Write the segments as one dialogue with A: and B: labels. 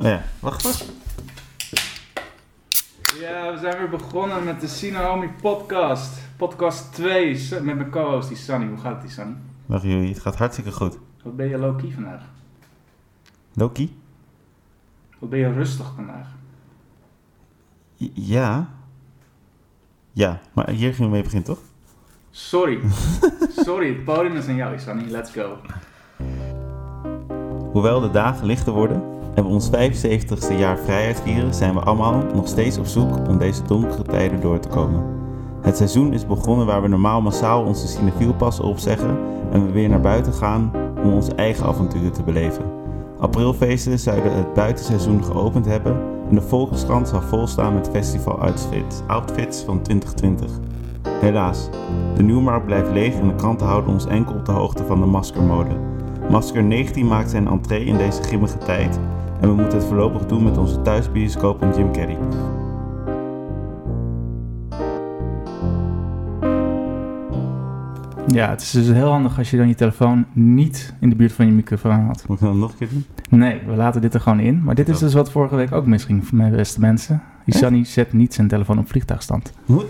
A: Ja. Wacht eens.
B: Ja, we zijn weer begonnen met de Sinahomi podcast. Podcast 2 s- met mijn co-host, die Sunny. Hoe gaat het, die Sunny?
A: Dag jullie, het gaat hartstikke goed.
B: Wat ben je low-key vandaag?
A: Loki?
B: Wat ben je rustig vandaag?
A: I- Ja. Ja, maar hier gingen we mee beginnen, toch?
B: Sorry. Sorry, het podium is aan jou, Sunny. Let's go.
A: Hoewel de dagen lichter worden en we ons 75ste jaar vrijheid vieren, zijn we allemaal nog steeds op zoek om deze donkere tijden door te komen. Het seizoen is begonnen waar we normaal massaal onze cinefielpassen opzeggen en we weer naar buiten gaan om ons eigen avonturen te beleven. Aprilfeesten zouden het buitenseizoen geopend hebben en de Volkskrant zou volstaan met festival-outfits outfits van 2020. Helaas, de Nieuwmarkt blijft leeg en de kranten houden ons enkel op de hoogte van de maskermode. Masker 19 maakt zijn entree in deze grimmige tijd en we moeten het voorlopig doen met onze thuisbioscoop en Jim Carrey.
B: Ja, het is dus heel handig als je dan je telefoon niet in de buurt van je microfoon had.
A: Moet ik dat nog een keer doen?
B: Nee, we laten dit er gewoon in. Maar dit is
A: Oh.
B: dus wat vorige week ook misging, mijn beste mensen. Die Sunny zet niet zijn telefoon op vliegtuigstand.
A: Moet?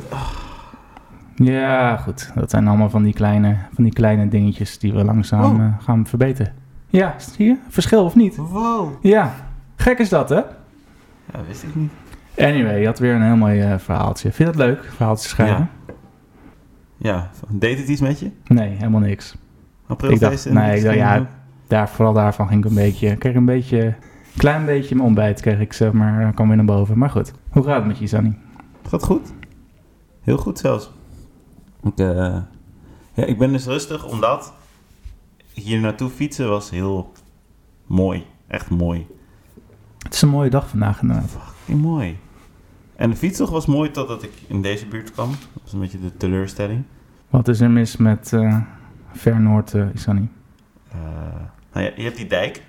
B: Ja, goed. Dat zijn allemaal van die kleine, van die kleine dingetjes die we langzaam
A: Oh.
B: eh, gaan verbeteren. Ja, zie je? Verschil of niet?
A: Wow!
B: Ja, gek is dat, hè?
A: Ja, wist ik niet.
B: Anyway, je had weer een heel mooi eh, verhaaltje. Vind je dat leuk, verhaaltje schrijven?
A: Ja, deed het iets met je?
B: Nee, helemaal niks.
A: Aprilfeesten?
B: Ik dacht- nee,
A: en
B: ik dacht, ja. Daar, vooral daarvan ging ik een beetje... Kreeg een beetje... Klein beetje mijn ontbijt kreeg ik, zeg maar. eh, Kwam weer naar boven. Maar goed, hoe gaat het met je, Sunny?
A: Het gaat goed. Heel goed zelfs. Ik, eh, ja, ik ben dus rustig omdat hier naartoe fietsen was heel mooi. Echt mooi.
B: Het is een mooie dag vandaag, inderdaad.
A: Fucking mooi. En de fietstocht was mooi totdat ik in deze buurt kwam. Dat was een beetje de teleurstelling.
B: Wat is er mis met eh Ver Noord, eh, Sunny?
A: Eh, nou ja, je hebt die dijk.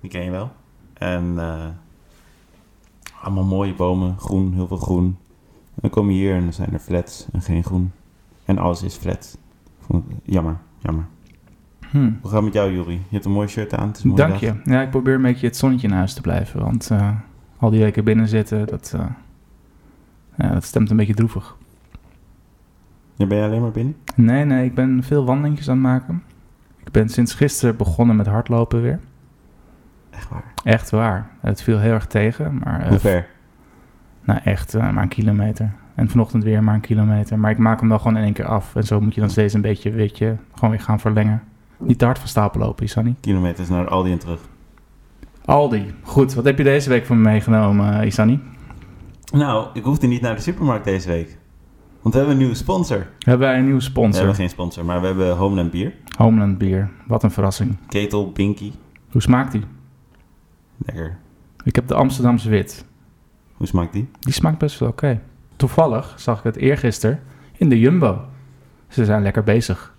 A: Die ken je wel. En eh, allemaal mooie bomen. Groen, heel veel groen. En dan kom je hier en dan zijn er flats en geen groen. En alles is flat. Ik vond het- Jammer, jammer.
B: Hm.
A: Hoe gaat het met jou, Juri? Je hebt een mooi shirt aan. Het is een mooie
B: Dank
A: dag.
B: je. Ja, ik probeer een beetje het zonnetje in huis te blijven. Want eh, al die weken binnen zitten, dat, eh, ja, dat stemt een beetje droevig.
A: Ja, ben je alleen maar binnen?
B: Nee, nee, ik ben veel wandelingjes aan het maken. Ik ben sinds gisteren begonnen met hardlopen weer.
A: Echt waar.
B: Echt waar. Het viel heel erg tegen. Maar, eh,
A: Hoe ver?
B: Nou, echt eh, maar een kilometer. En vanochtend weer maar een kilometer. Maar ik maak hem wel gewoon in één keer af. En zo moet je dan steeds een beetje, weet je, gewoon weer gaan verlengen. Niet te hard van stapel lopen, Isani.
A: Kilometers naar Aldi en terug.
B: Aldi. Goed, wat heb je deze week voor me meegenomen, eh, Isani?
A: Nou, ik hoefde niet naar de supermarkt deze week. Want we hebben een nieuwe sponsor.
B: Hebben wij een nieuwe
A: We
B: sponsor?
A: hebben geen sponsor, maar we hebben Homeland Bier.
B: Homeland bier. Wat een verrassing.
A: Ketel, Binky.
B: Hoe smaakt die?
A: Lekker.
B: Ik heb de Amsterdamse wit.
A: Hoe smaakt die?
B: Die smaakt best wel oké. Toevallig zag ik het eergisteren in de Jumbo. Ze zijn lekker bezig.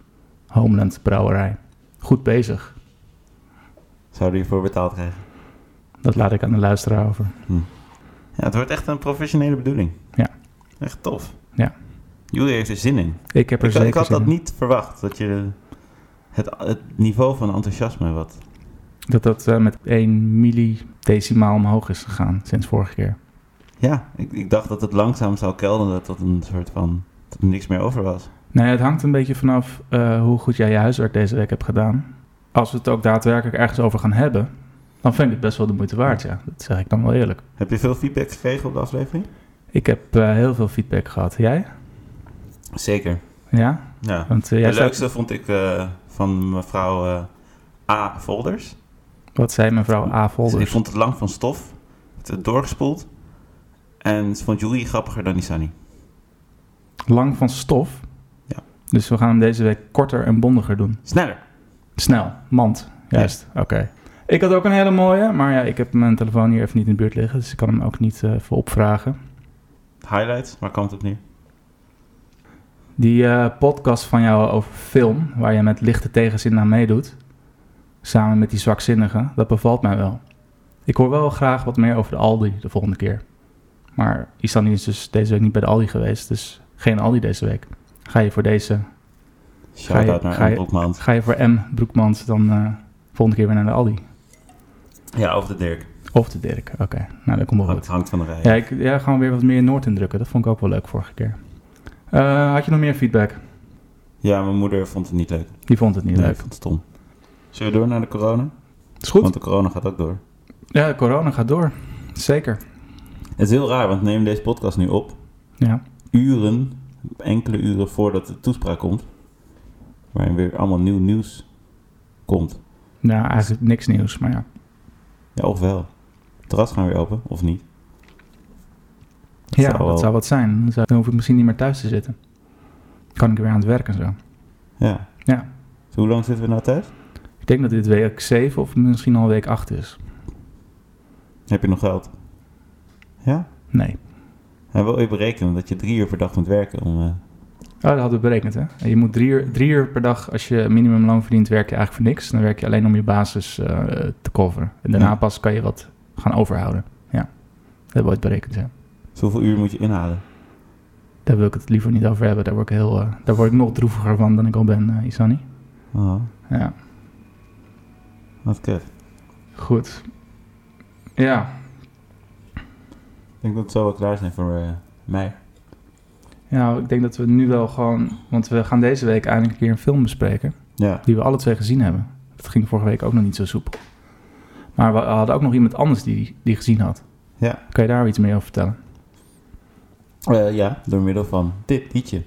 B: Homeland brouwerij. Goed bezig.
A: Zouden we hiervoor betaald krijgen?
B: Dat laat ik aan de luisteraar over.
A: Ja, het wordt echt een professionele bedoeling.
B: Ja.
A: Echt tof.
B: Ja.
A: Jullie heeft er zin in.
B: Ik heb er
A: Ik, had-
B: zeker
A: ik had
B: zin
A: dat
B: in.
A: niet verwacht, dat je het, het niveau van enthousiasme wat...
B: Dat dat eh, met 1 millidecimaal omhoog is gegaan sinds vorige keer.
A: Ja, ik, ik dacht dat het langzaam zou kelderen, dat dat een soort van... dat er niks meer over was.
B: Nee, het hangt een beetje vanaf eh, hoe goed jij je huiswerk deze week hebt gedaan. Als we het ook daadwerkelijk ergens over gaan hebben, dan vind ik het best wel de moeite waard, ja. Dat zeg ik dan wel eerlijk.
A: Heb je veel feedback gekregen op de aflevering?
B: Ik heb eh, heel veel feedback gehad. Jij?
A: Zeker,
B: Ja?
A: ja.
B: Want eh, jij
A: Het
B: zei...
A: leukste vond ik eh, van mevrouw eh, A. Volders.
B: Wat zei mevrouw A.
A: Ik
B: Volders?
A: vond het lang van stof. Het werd doorgespoeld. En ze vond Julie grappiger dan Isani.
B: Lang van stof.
A: Ja.
B: Dus we gaan hem deze week korter en bondiger doen.
A: Sneller.
B: Snel. Mand. Juist. Oké. Ik had ook een hele mooie, maar ja, ik heb mijn telefoon hier even niet in de buurt liggen. Dus ik kan hem ook niet eh voor opvragen.
A: Highlights, waar kwam het op neer?
B: Die eh, podcast van jou over film, waar je met lichte tegenzin aan meedoet, samen met die zwakzinnigen, dat bevalt mij wel. Ik hoor wel graag wat meer over de Aldi de volgende keer. Maar Isani is dus deze week niet bij de Aldi geweest, dus geen Aldi deze week. Ga je voor deze, Ga je-
A: Shout-out
B: ga
A: naar
B: je-
A: Anne Broekmans.
B: ga je voor M. Broekmans dan eh volgende keer weer naar de Aldi?
A: Ja, over de Dirk.
B: Of Of de Dirk, oké. Nou, dat komt wel goed.
A: Het hangt van de rij.
B: Ja, ik, ja, gewoon weer wat meer Noord indrukken. Dat vond ik ook wel leuk vorige keer. Eh, had je nog meer feedback?
A: Ja, mijn moeder vond het niet leuk.
B: Die vond het niet
A: Nee,
B: leuk.
A: vond het stom. Zullen we door naar de corona?
B: Is goed.
A: Want de corona gaat ook door.
B: Ja, corona gaat door. Zeker.
A: Het is heel raar, want we nemen deze podcast nu op.
B: Ja.
A: Uren, enkele uren voordat de toespraak komt. Waarin weer allemaal nieuw nieuws komt.
B: Nou, eigenlijk niks nieuws, maar ja.
A: Ja, of wel. Het terras gaan weer open, of niet?
B: ja,
A: zou wel-
B: dat zou wat zijn. Dan zou- Dan hoef ik misschien niet meer thuis te zitten. Kan ik weer aan het werk en zo.
A: Ja.
B: Ja.
A: Dus hoe lang zitten we nou thuis?
B: Ik denk dat dit week 7 of misschien al week 8 is.
A: Heb je nog geld? Ja?
B: Nee.
A: Hij wil je berekenen dat je drie uur per dag moet werken om... eh,
B: Oh, dat hadden we berekend, hè? En Je moet drie uur, drie uur per dag, als je minimumloon verdient, werk je eigenlijk voor niks. Dan werk je alleen om je basis eh, te coveren. En daarna
A: Ja.
B: pas kan je wat gaan overhouden. Ja, dat hebben we ooit berekend, ja.
A: zoveel uur moet je inhalen.
B: Daar wil ik het liever niet over hebben. Daar word ik, heel, eh, daar word ik nog droeviger van dan ik al ben, eh, Isani.
A: Oh,
B: Ja,
A: wat kut.
B: goed. Ja,
A: Ik denk dat we zo wel klaar zijn voor eh, mij.
B: ja, Nou, ik denk dat we nu wel gewoon... Want we gaan deze week eindelijk een keer een film bespreken.
A: Ja.
B: Die we alle twee gezien hebben. Dat ging vorige week ook nog niet zo soepel. Maar we hadden ook nog iemand anders die die gezien had.
A: Ja.
B: Kan je daar iets meer over vertellen?
A: Eh, ja, door middel van dit liedje.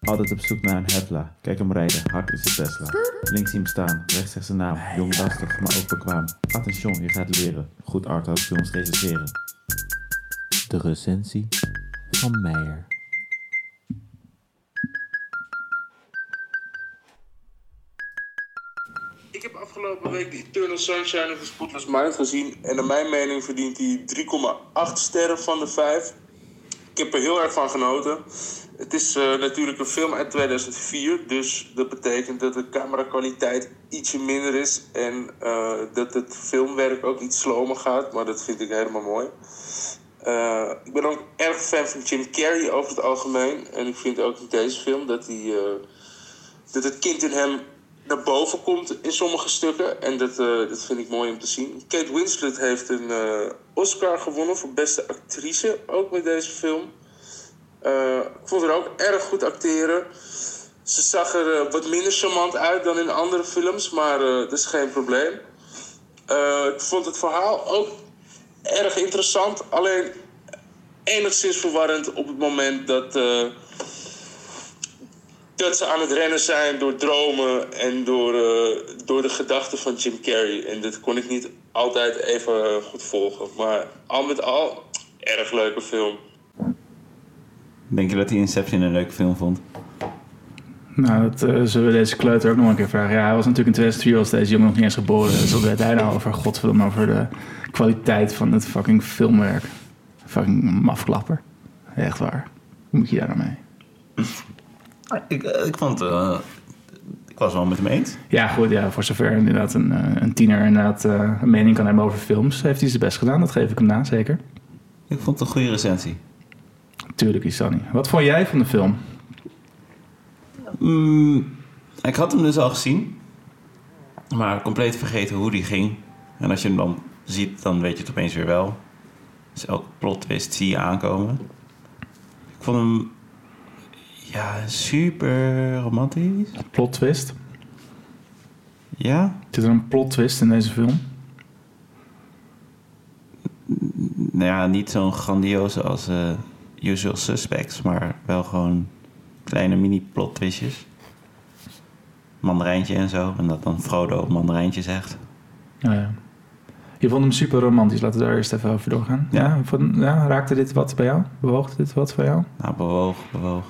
C: Altijd op zoek naar een Hetla. Kijk hem rijden, hard is de Tesla. Links zien hem staan, rechts zegt zijn naam. Jong lastig, maar ook bekwaam. Attention, je gaat leren. Goed arthouse films recenseren. De recensie van Meijer.
D: Ik heb afgelopen week de Eternal Sunshine of the Spotless Mind gezien. En naar mijn mening verdient hij 3,8 sterren van de 5. Ik heb er heel erg van genoten. Het is eh, natuurlijk een film uit 2004. Dus dat betekent dat de camerakwaliteit ietsje minder is. En eh, dat het filmwerk ook iets slomer gaat. Maar dat vind ik helemaal mooi. Eh, ik ben ook erg fan van Jim Carrey over het algemeen. En ik vind ook in deze film dat hij... eh, dat het kind in hem naar boven komt in sommige stukken. En dat, eh, dat vind ik mooi om te zien. Kate Winslet heeft een eh, Oscar gewonnen voor beste actrice, ook met deze film. Eh, ik vond haar ook erg goed acteren. Ze zag er eh, wat minder charmant uit dan in andere films, maar eh, dat is geen probleem. Eh, ik vond het verhaal ook erg interessant, alleen enigszins verwarrend op het moment dat. eh, dat ze aan het rennen zijn door dromen en door, eh, door de gedachten van Jim Carrey. En dat kon ik niet altijd even eh, goed volgen. Maar al met al, erg leuke film.
A: Denk je dat hij Inception een leuke film vond?
B: Nou, dat eh, zullen we deze kleuter ook nog een keer vragen. Ja, hij was natuurlijk in 2003 was deze jongen nog niet eens geboren. Dus wat weet hij nou over godverdomme over de kwaliteit van het fucking filmwerk? Fucking mafklapper. Echt waar. Hoe moet je daar nou mee?
A: Ik, eh, ik vond... ik was wel met hem eens.
B: Ja, goed, ja, voor zover inderdaad een, eh, een tiener inderdaad, eh, een mening kan hebben over films, heeft hij zijn best gedaan. Dat geef ik hem na, zeker.
A: Ik vond het een goede recensie.
B: Tuurlijk, Isani. Wat vond jij van de film?
A: Mm, ik had hem dus al gezien. Maar compleet vergeten hoe die ging. En als je hem dan ziet, dan weet je het opeens weer wel. Dus elke plot twist zie je aankomen. Ik vond hem... Ja, super romantisch.
B: Plot twist.
A: Ja,
B: Zit er een plot twist in deze film?
A: Nou ja, niet zo'n grandioze als eh, Usual Suspects, maar wel gewoon kleine mini-plot twistjes. Mandarijntje en zo, en dat dan Frodo mandarijntje zegt.
B: Ja, ja. Je vond hem super romantisch. Laten we daar eerst even over doorgaan. Ja,
A: Ja.
B: van, ja, raakte dit wat bij jou? Bewoog dit wat bij jou?
A: Nou, bewoog, bewoog.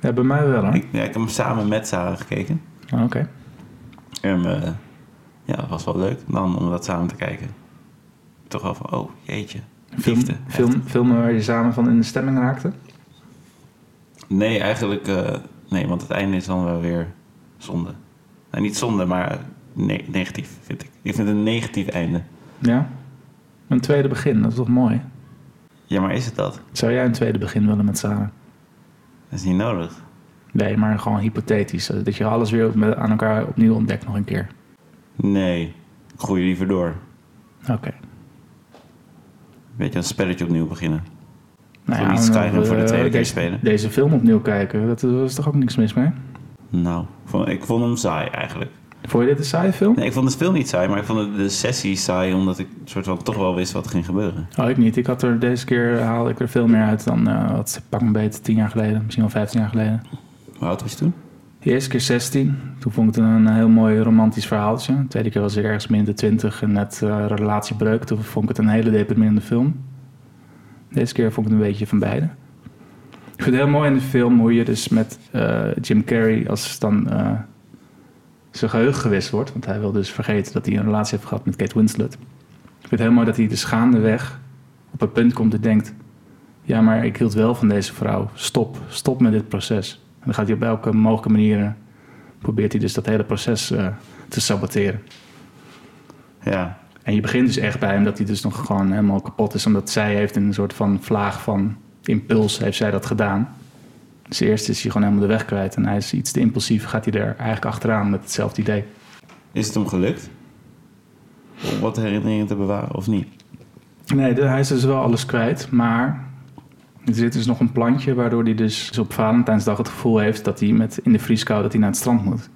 B: Ja, bij mij wel hoor.
A: Oh, Ik, ja, ik heb hem samen met Sarah gekeken.
B: Ah, Oké.
A: En eh, ja, dat was wel leuk dan om dat samen te kijken. Toch wel van, oh jeetje,
B: Film,
A: liefde.
B: film, filmen waar je samen van in de stemming raakte?
A: Nee, eigenlijk, eh, nee, want het einde is dan wel weer zonde. Nou, niet zonde, maar ne- negatief vind ik. Ik vind het een negatief einde.
B: Ja. Een tweede begin, dat is toch mooi?
A: Ja, maar is het dat?
B: Zou jij een tweede begin willen met Sarah?
A: Dat is niet nodig.
B: Nee, maar gewoon hypothetisch. eh, Dat je alles weer op- met- aan elkaar opnieuw ontdekt nog een keer.
A: Nee. groei liever door.
B: Oké.
A: Weet je, een spelletje opnieuw beginnen.
B: Nou
A: Gewoon niet Skyrim
B: dan,
A: voor de
B: eh,
A: tweede keer
B: deze,
A: spelen.
B: Deze film opnieuw kijken, dat eh, is toch ook niks mis mee?
A: Nou, ik vond, ik vond hem saai eigenlijk.
B: Vond je dit een saaie film?
A: Nee, ik vond het spel niet saai, maar ik vond het- de sessie saai omdat ik soort van toch wel wist wat er ging gebeuren.
B: Oh, ik niet. Ik had er deze keer haalde ik er veel meer uit dan eh, wat pak een beetje tien jaar geleden, misschien wel 15 jaar geleden.
A: Hoe oud was je toen?
B: De eerste keer 16. Toen vond ik het een heel mooi romantisch verhaaltje. De tweede keer was ik ergens midden 20 en net eh, relatiebreuk. Toen vond ik het een hele deprimerende film. Deze keer vond ik het een beetje van beide. Ik vind het heel mooi in de film hoe je dus met eh, Jim Carrey als dan eh, zijn geheugen gewist wordt. Want hij wil dus vergeten dat hij een relatie heeft gehad met Kate Winslet. Ik vind het heel mooi dat hij dus gaandeweg op het punt komt en denkt... Ja, maar ik hield wel van deze vrouw. Stop. Stop met dit proces. En dan gaat hij op elke mogelijke manier... eh, probeert hij dus dat hele proces eh, te saboteren.
A: Ja,
B: En je begint dus echt bij hem dat hij dus nog gewoon helemaal kapot is... omdat zij heeft een soort van vlaag van impuls, heeft zij dat gedaan. Dus eerst is hij gewoon helemaal de weg kwijt... en hij is iets te impulsief, gaat hij er eigenlijk achteraan met hetzelfde idee.
A: is het hem gelukt? Om wat herinneringen te bewaren of niet?
B: Nee, de- hij is dus wel alles kwijt, maar er zit dus nog een plantje waardoor hij dus op Valentijnsdag het gevoel heeft dat hij met in de vrieskou dat hij naar het strand moet.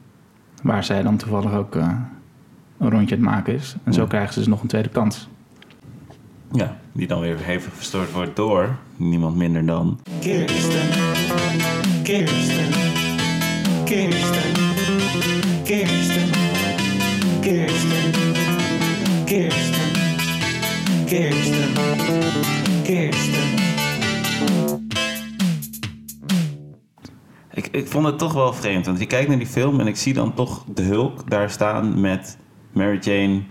B: Waar zij dan toevallig ook eh, een rondje aan het maken is. En zo
A: Ja.
B: krijgen ze dus nog een tweede kans.
A: Ja, die dan weer hevig verstoord wordt door niemand minder dan.
E: Kirsten. Kirsten. Kirsten. Kirsten. Kirsten. Kirsten. Kirsten. Kirsten.
A: Ik, ik vond het toch wel vreemd, want je kijkt naar die film en ik zie dan toch de Hulk daar staan met Mary Jane.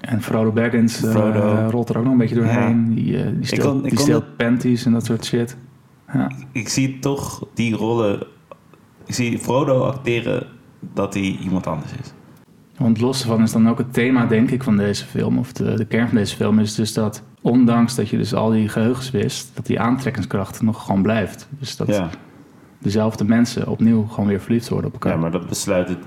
B: En Frodo Baggins eh,
A: Frodo.
B: rolt er ook nog een beetje doorheen. Die, eh die steelt,
A: kon- ik
B: die
A: kon
B: steelt
A: dat-
B: panties en dat soort shit. Ja.
A: Ik zie toch die rollen. Ik zie Frodo acteren dat hij iemand anders is.
B: Want los daarvan is dan ook het thema, denk ik, van deze film. Of de, de kern van deze film is dus dat... ondanks dat je dus al die geheugens wist... dat die aantrekkingskracht nog gewoon blijft. Dus dat
A: Ja,
B: dezelfde mensen opnieuw gewoon weer verliefd worden op elkaar.
A: ja maar dat besluit het,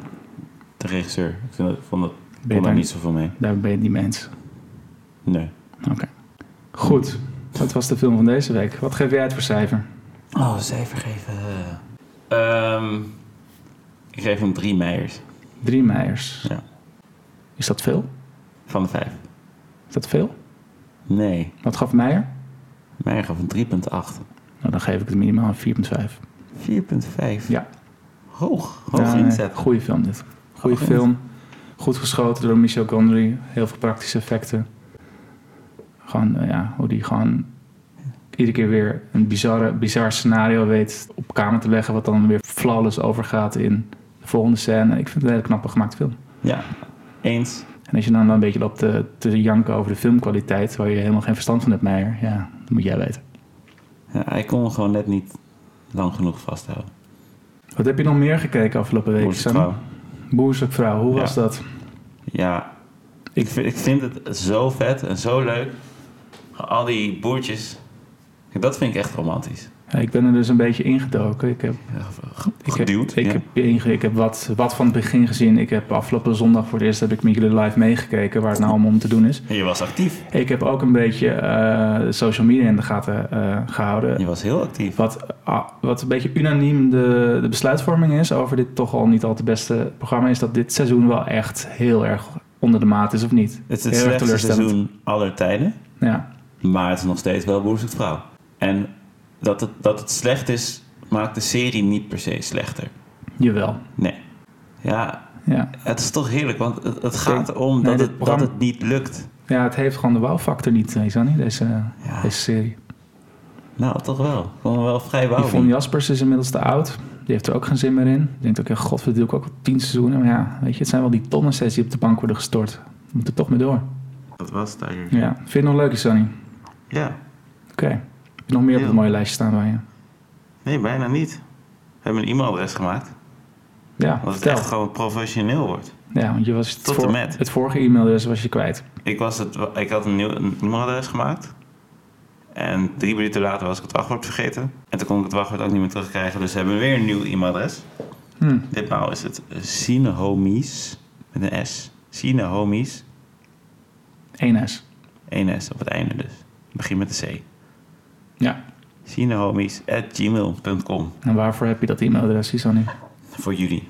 A: de regisseur. Ik vind dat, vond dat,
B: Ben je
A: kon daar
B: daar
A: niet zoveel mee.
B: Daar ben je het niet mee eens.
A: Nee.
B: Oké. Goed. Dat was de film van deze week. Wat geef jij het voor cijfer?
A: Oh, cijfer geven. eh. Ehm, ik geef hem drie meijers
B: Drie meijers.
A: Ja.
B: Is dat veel?
A: van de vijf.
B: Is dat veel?
A: Nee,
B: Wat gaf Meijer?
A: Meijer gaf een 3,8.
B: Nou, dan geef ik het minimaal een 4,5.
A: 4,5.
B: Ja.
A: Hoog. Hoog
B: Ja, nee,
A: inzet.
B: Goeie film dit. Goeie
A: Hoog
B: film. Goed geschoten door Michel Gondry. Heel veel praktische effecten. Gewoon, eh, ja, hoe die gewoon iedere keer weer een bizarre, bizar scenario weet op kamer te leggen. Wat dan weer flawless overgaat in de volgende scène. Ik vind het een hele knappe gemaakte film.
A: Ja, eens.
B: En als je dan een beetje loopt te, te janken over de filmkwaliteit. Waar je helemaal geen verstand van hebt, Meijer. Ja, dat moet jij weten.
A: Ja, hij kon hem gewoon net niet lang genoeg vasthouden.
B: Wat heb je nog meer gekeken afgelopen week?
A: Moest ik
B: Sam?
A: trouw.
B: Boerzoekvrouw, hoe
A: Ja.
B: was dat?
A: Ja, ik vind, ik vind het zo vet en zo leuk. Al die boertjes. Dat vind ik echt romantisch.
B: Ja, ik ben er dus een beetje ingedoken. Ik heb Ik heb-
A: Geduwd.
B: Ik,
A: ja.
B: heb, inge- ik heb wat, wat van het begin gezien. Ik heb afgelopen zondag voor het eerst heb ik Mickey de Live meegekeken, waar het nou allemaal om te doen is.
A: Je was actief.
B: Ik heb ook een beetje eh, de social media in de gaten eh, gehouden.
A: Je was heel actief.
B: Wat, ah, wat een beetje unaniem de, de besluitvorming is over dit toch al niet al te beste programma, is dat dit seizoen wel echt heel erg onder de maat is, of niet?
A: Het is het
B: Heel erg
A: slechtste
B: teleurstellend.
A: seizoen aller tijden.
B: Ja.
A: Maar het is nog steeds wel Boer zoekt vrouw. En dat het, dat het slecht is, maakt de serie niet per se slechter.
B: Jawel.
A: Nee. Ja,
B: Ja.
A: het is toch heerlijk, want het, het gaat
B: Nee,
A: erom
B: dit
A: dat, het, dat
B: programma-
A: het niet lukt.
B: ja, het heeft gewoon de wow-factor niet, eh, Zanny, deze,
A: Ja.
B: deze serie.
A: Nou, toch wel. Ik vond hem wel vrij
B: Die Yvonne
A: wauw.
B: Jaspers is inmiddels te oud. Die heeft er ook geen zin meer in. Ik denk ook, ja, god, we doen ook al tien seizoenen. Maar ja, weet je, het zijn wel die tonnen sets die op de bank worden gestort. We moeten toch mee door.
A: Dat was het eigenlijk.
B: Ja, vind je het nog leuk, Sonny?
A: Ja,
B: Oké. Heb je nog meer op het
A: Ja.
B: mooie lijstje staan bij je?
A: nee, bijna niet. We hebben een e-mailadres gemaakt.
B: Ja,
A: Dat het
B: vertel.
A: echt gewoon professioneel wordt.
B: Ja, want je was het,
A: Tot en met.
B: het vorige e-mailadres was je kwijt.
A: Ik, was het, ik had een nieuw een e-mailadres gemaakt. En drie minuten later was ik het wachtwoord vergeten. En toen kon ik het wachtwoord ook niet meer terugkrijgen. Dus we hebben weer een nieuw e-mailadres.
B: Hm.
A: Ditmaal is het Sinehomies met een S. China Homies.
B: 1S.
A: 1S op het einde dus. Het begint met de C.
B: Ja.
A: Chinahomies at gmail.com.
B: En waarvoor heb je dat e-mailadres, Sisani?
A: Voor jullie.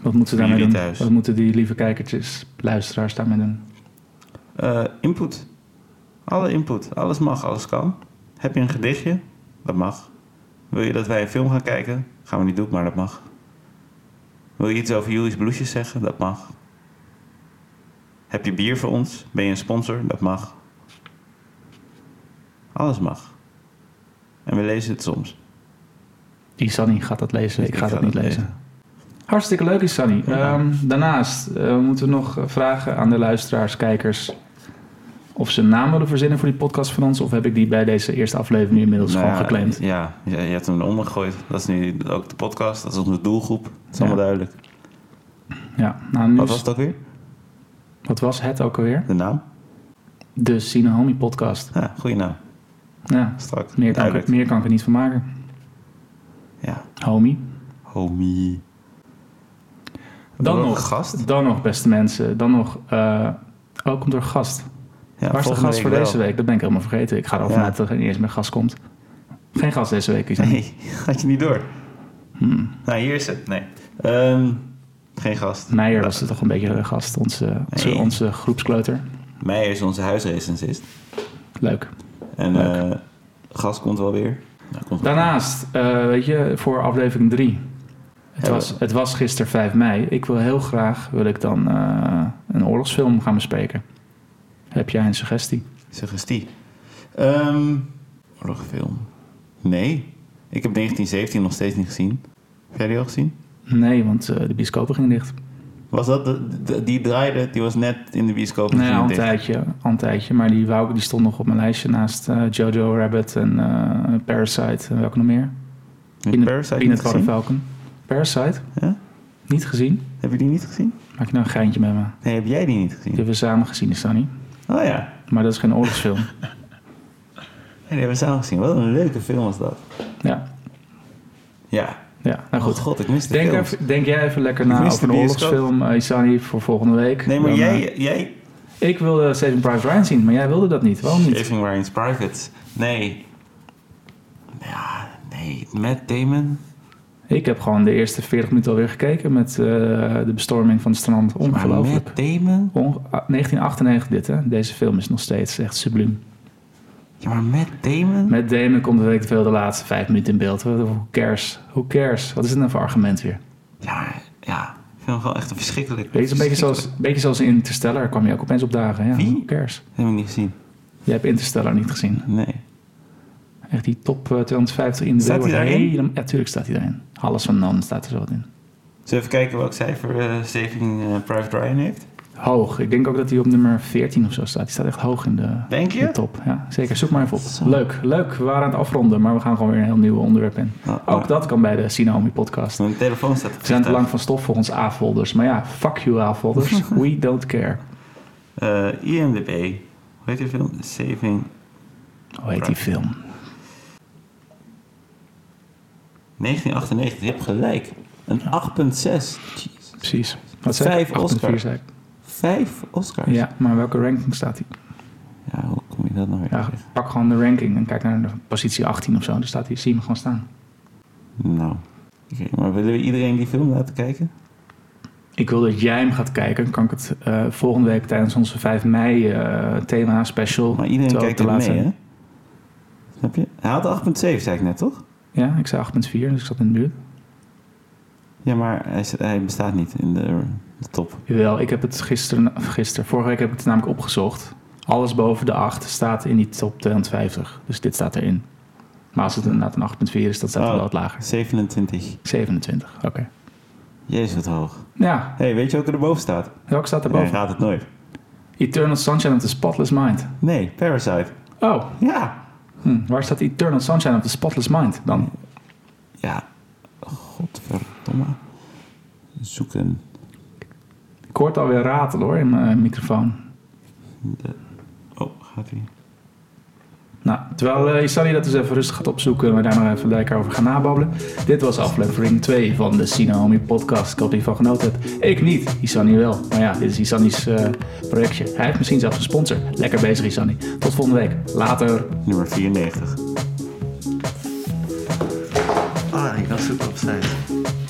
B: Wat moeten ze
A: Voor
B: daarmee doen?
A: jullie thuis.
B: Wat moeten die lieve kijkertjes, luisteraars daarmee doen?
A: Eh, input. Alle input. Alles mag, alles kan. Heb je een gedichtje? Dat mag. Wil je dat wij een film gaan kijken? Gaan we niet doen, maar dat mag. Wil je iets over Julie's bloesjes zeggen? Dat mag. Heb je bier voor ons? Ben je een sponsor? Dat mag. Alles mag. En we lezen het soms.
B: Isani gaat dat lezen, ik ga
A: ga
B: dat
A: dat
B: niet lezen. Hartstikke leuk, Isani.
A: Ja.
B: Ehm, daarnaast eh, moeten we nog vragen aan de luisteraars, kijkers... of ze een naam willen verzinnen voor die podcast van ons... of heb ik die bij deze eerste aflevering nu inmiddels
A: Nou
B: gewoon
A: ja,
B: geclaimd?
A: Ja, je, je hebt hem eronder gegooid. Dat is nu ook de podcast. Dat is onze doelgroep. Dat is
B: Ja. Dus-
A: allemaal duidelijk.
B: Ja, nou nu...
A: Wat
B: is-
A: was het ook weer?
B: wat was het ook alweer?
A: De naam?
B: De Sinahami podcast.
A: Ja, goede naam.
B: Ja,
A: Strak.
B: meer kan, ik, er-
A: Duidelijk.
B: meer kan ik er niet van maken.
A: Ja.
B: Homie.
A: Homie.
B: Dan
A: Ook een
B: nog,
A: gast?
B: dan nog, beste mensen. Dan nog... eh ook komt er een gast.
A: Ja,
B: Waar is de
A: volgende
B: gast voor
A: wel.
B: deze week? Dat ben ik helemaal vergeten. Ik ga ervan
A: Ja.
B: uit dat er niet eens meer gast komt. Geen gast deze week. Isani.
A: Nee, had je niet door. Nou, hier is het. Nee. Ehm, geen gast.
B: Meijer was er toch een beetje de gast, onze, onze,
A: Nee.
B: onze groepskleuter.
A: Meijer is onze huisrecensist.
B: Leuk.
A: En eh gast komt wel weer. Ja, komt wel.
B: Daarnaast, eh, weet je, voor aflevering 3. Het
A: Ja,
B: was, het was gisteren 5 mei. Ik wil heel graag, wil ik dan eh, een oorlogsfilm gaan bespreken. Heb jij een suggestie?
A: Suggestie. Ehm oorlogfilm. Nee. Ik heb 1917 nog steeds niet gezien. Heb jij die al gezien?
B: Nee, want eh, de bioscopen gingen dicht.
A: Was dat de, de- die draaide? Die was net in de bioscoop. en
B: Nee,
A: ging
B: al een
A: dicht.
B: tijdje, al een tijdje. Maar die, wou, ik- die stond nog op mijn lijstje naast eh, Jojo Rabbit en eh, Parasite. En welke nog meer? Peanut-
A: Parasite
B: Peanut
A: niet
B: Butter
A: gezien?
B: Falcon. Parasite?
A: Ja?
B: Niet gezien?
A: Heb je die niet gezien?
B: Maak je nou een geintje met me?
A: Nee, heb jij die niet gezien?
B: Die hebben we samen gezien, is dat niet?
A: Oh ja,
B: Maar dat is geen oorlogsfilm.
A: nee, die hebben we samen gezien. Wat een leuke film was dat.
B: ja,
A: Ja.
B: ja, nou
A: Goed.
B: goed.
A: Oh, god, ik mis de
B: Denk,
A: film.
B: even, denk jij even lekker
A: Ik
B: na
A: mis
B: over een
A: de bioscoop.
B: oorlogsfilm, eh, Isani, voor volgende week.
A: Nee, maar
B: Dan,
A: jij,
B: eh,
A: jij...
B: ik wilde Saving Private Ryan zien, maar jij wilde dat niet. Waarom niet?
A: Saving Ryan's Private. Nee. Ja, nee. Matt Damon.
B: Ik heb gewoon de eerste 40 minuten alweer gekeken met eh, de bestorming van het strand.
A: Maar
B: Ongelooflijk.
A: Matt Damon?
B: Onge- ah, 1998 dit, hè? Deze film is nog steeds echt subliem.
A: Ja, maar Matt Damon?
B: Met Damon komt de week te veel de laatste vijf minuten in beeld. Who cares? Who cares? Wat is het nou voor argument weer?
A: Ja, maar, ja. Ik vind hem gewoon echt een verschrikkelijk...
B: Weet je, een beetje zoals, een beetje zoals in Interstellar kwam je ook opeens op dagen. Ja,
A: Wie?
B: who cares?
A: Dat heb ik niet gezien.
B: Jij hebt Interstellar niet gezien.
A: Nee.
B: Echt die top eh, 250 in de
A: Staat hij
B: wereld.
A: daarin?
B: Helemaal- Ja, tuurlijk staat hij daarin. Alles van Nan staat er zo wat in.
A: Zullen we even kijken welk cijfer eh, Saving eh, Private Ryan heeft?
B: Hoog. Ik denk ook dat hij op nummer 14 of zo staat. Die staat echt hoog in de,
A: Denk je?
B: de top. Ja, zeker. Zoek maar even op.
A: Zo.
B: Leuk. Leuk. We waren aan het afronden, maar we gaan gewoon weer een heel nieuw onderwerp in.
A: Oh,
B: Ook dat kan bij de Sinaomi podcast.
A: Mijn telefoon staat op
B: We zijn te
A: vliegtuig.
B: lang van stof voor ons A-folders. Maar ja, fuck you A-folders. We don't care.
A: Eh, IMDb. Hoe heet die film? Saving.
B: Hoe heet die film?
A: 1998. Je hebt gelijk. Een 8,6. Jeez.
B: Precies. Wat zei ik?
A: Vijf
B: 8,4
A: Oscar.
B: zei ik.
A: Vijf Oscars.
B: Ja, maar welke ranking staat hij?
A: Ja, hoe kom je dat nou weer?
B: Ja,
A: tegen?
B: pak gewoon de ranking en kijk naar de positie 18 of zo. Dan staat hij, zie je hem gewoon staan.
A: Nou. Oké, maar willen we iedereen die film laten kijken?
B: Ik wil dat jij hem gaat kijken. Dan Kan ik het eh, volgende week tijdens onze 5 mei eh, thema special.
A: Maar iedereen
B: terwijl
A: kijkt
B: ik
A: er
B: te laat
A: mee,
B: ben.
A: hè? Snap je? Hij had 8,7, zei ik net, toch?
B: Ja, ik zei 8,4, dus ik zat in de buurt.
A: Ja, maar hij, zit- hij bestaat niet in de, de top.
B: Jawel, ik heb het gisteren, of gisteren, vorige week heb ik het namelijk opgezocht. Alles boven de 8 staat in die top 250. Dus dit staat erin. Maar als het inderdaad een 8,4 is, dan staat het
A: Oh.
B: wel wat lager.
A: 27.
B: 27, oké.
A: Jezus, wat hoog.
B: Ja,
A: Hé, hey, weet je wat er boven staat?
B: welke staat
A: Hij
B: erboven?
A: raadt het nooit.
B: Eternal Sunshine of the Spotless Mind.
A: Nee, Parasite.
B: Oh,
A: Ja.
B: hm, waar staat Eternal Sunshine of the Spotless Mind dan?
A: Ja. Godverdomme. Zoeken.
B: Ik hoor het alweer ratelen hoor in mijn microfoon.
A: De... Oh, gaat hij?
B: Nou, terwijl eh Isani dat eens even rustig gaat opzoeken en we daar maar even lekker over gaan nababbelen. Dit was aflevering 2 van de Sinahomi podcast. Ik hoop dat je van genoten hebt. Ik niet, Isani wel. Maar ja, dit is Isani's eh, projectje. Hij heeft misschien zelfs een sponsor. Lekker bezig, Isani. Tot volgende week. Later.
A: Nummer 94.
F: Ah, ik was ook opzij.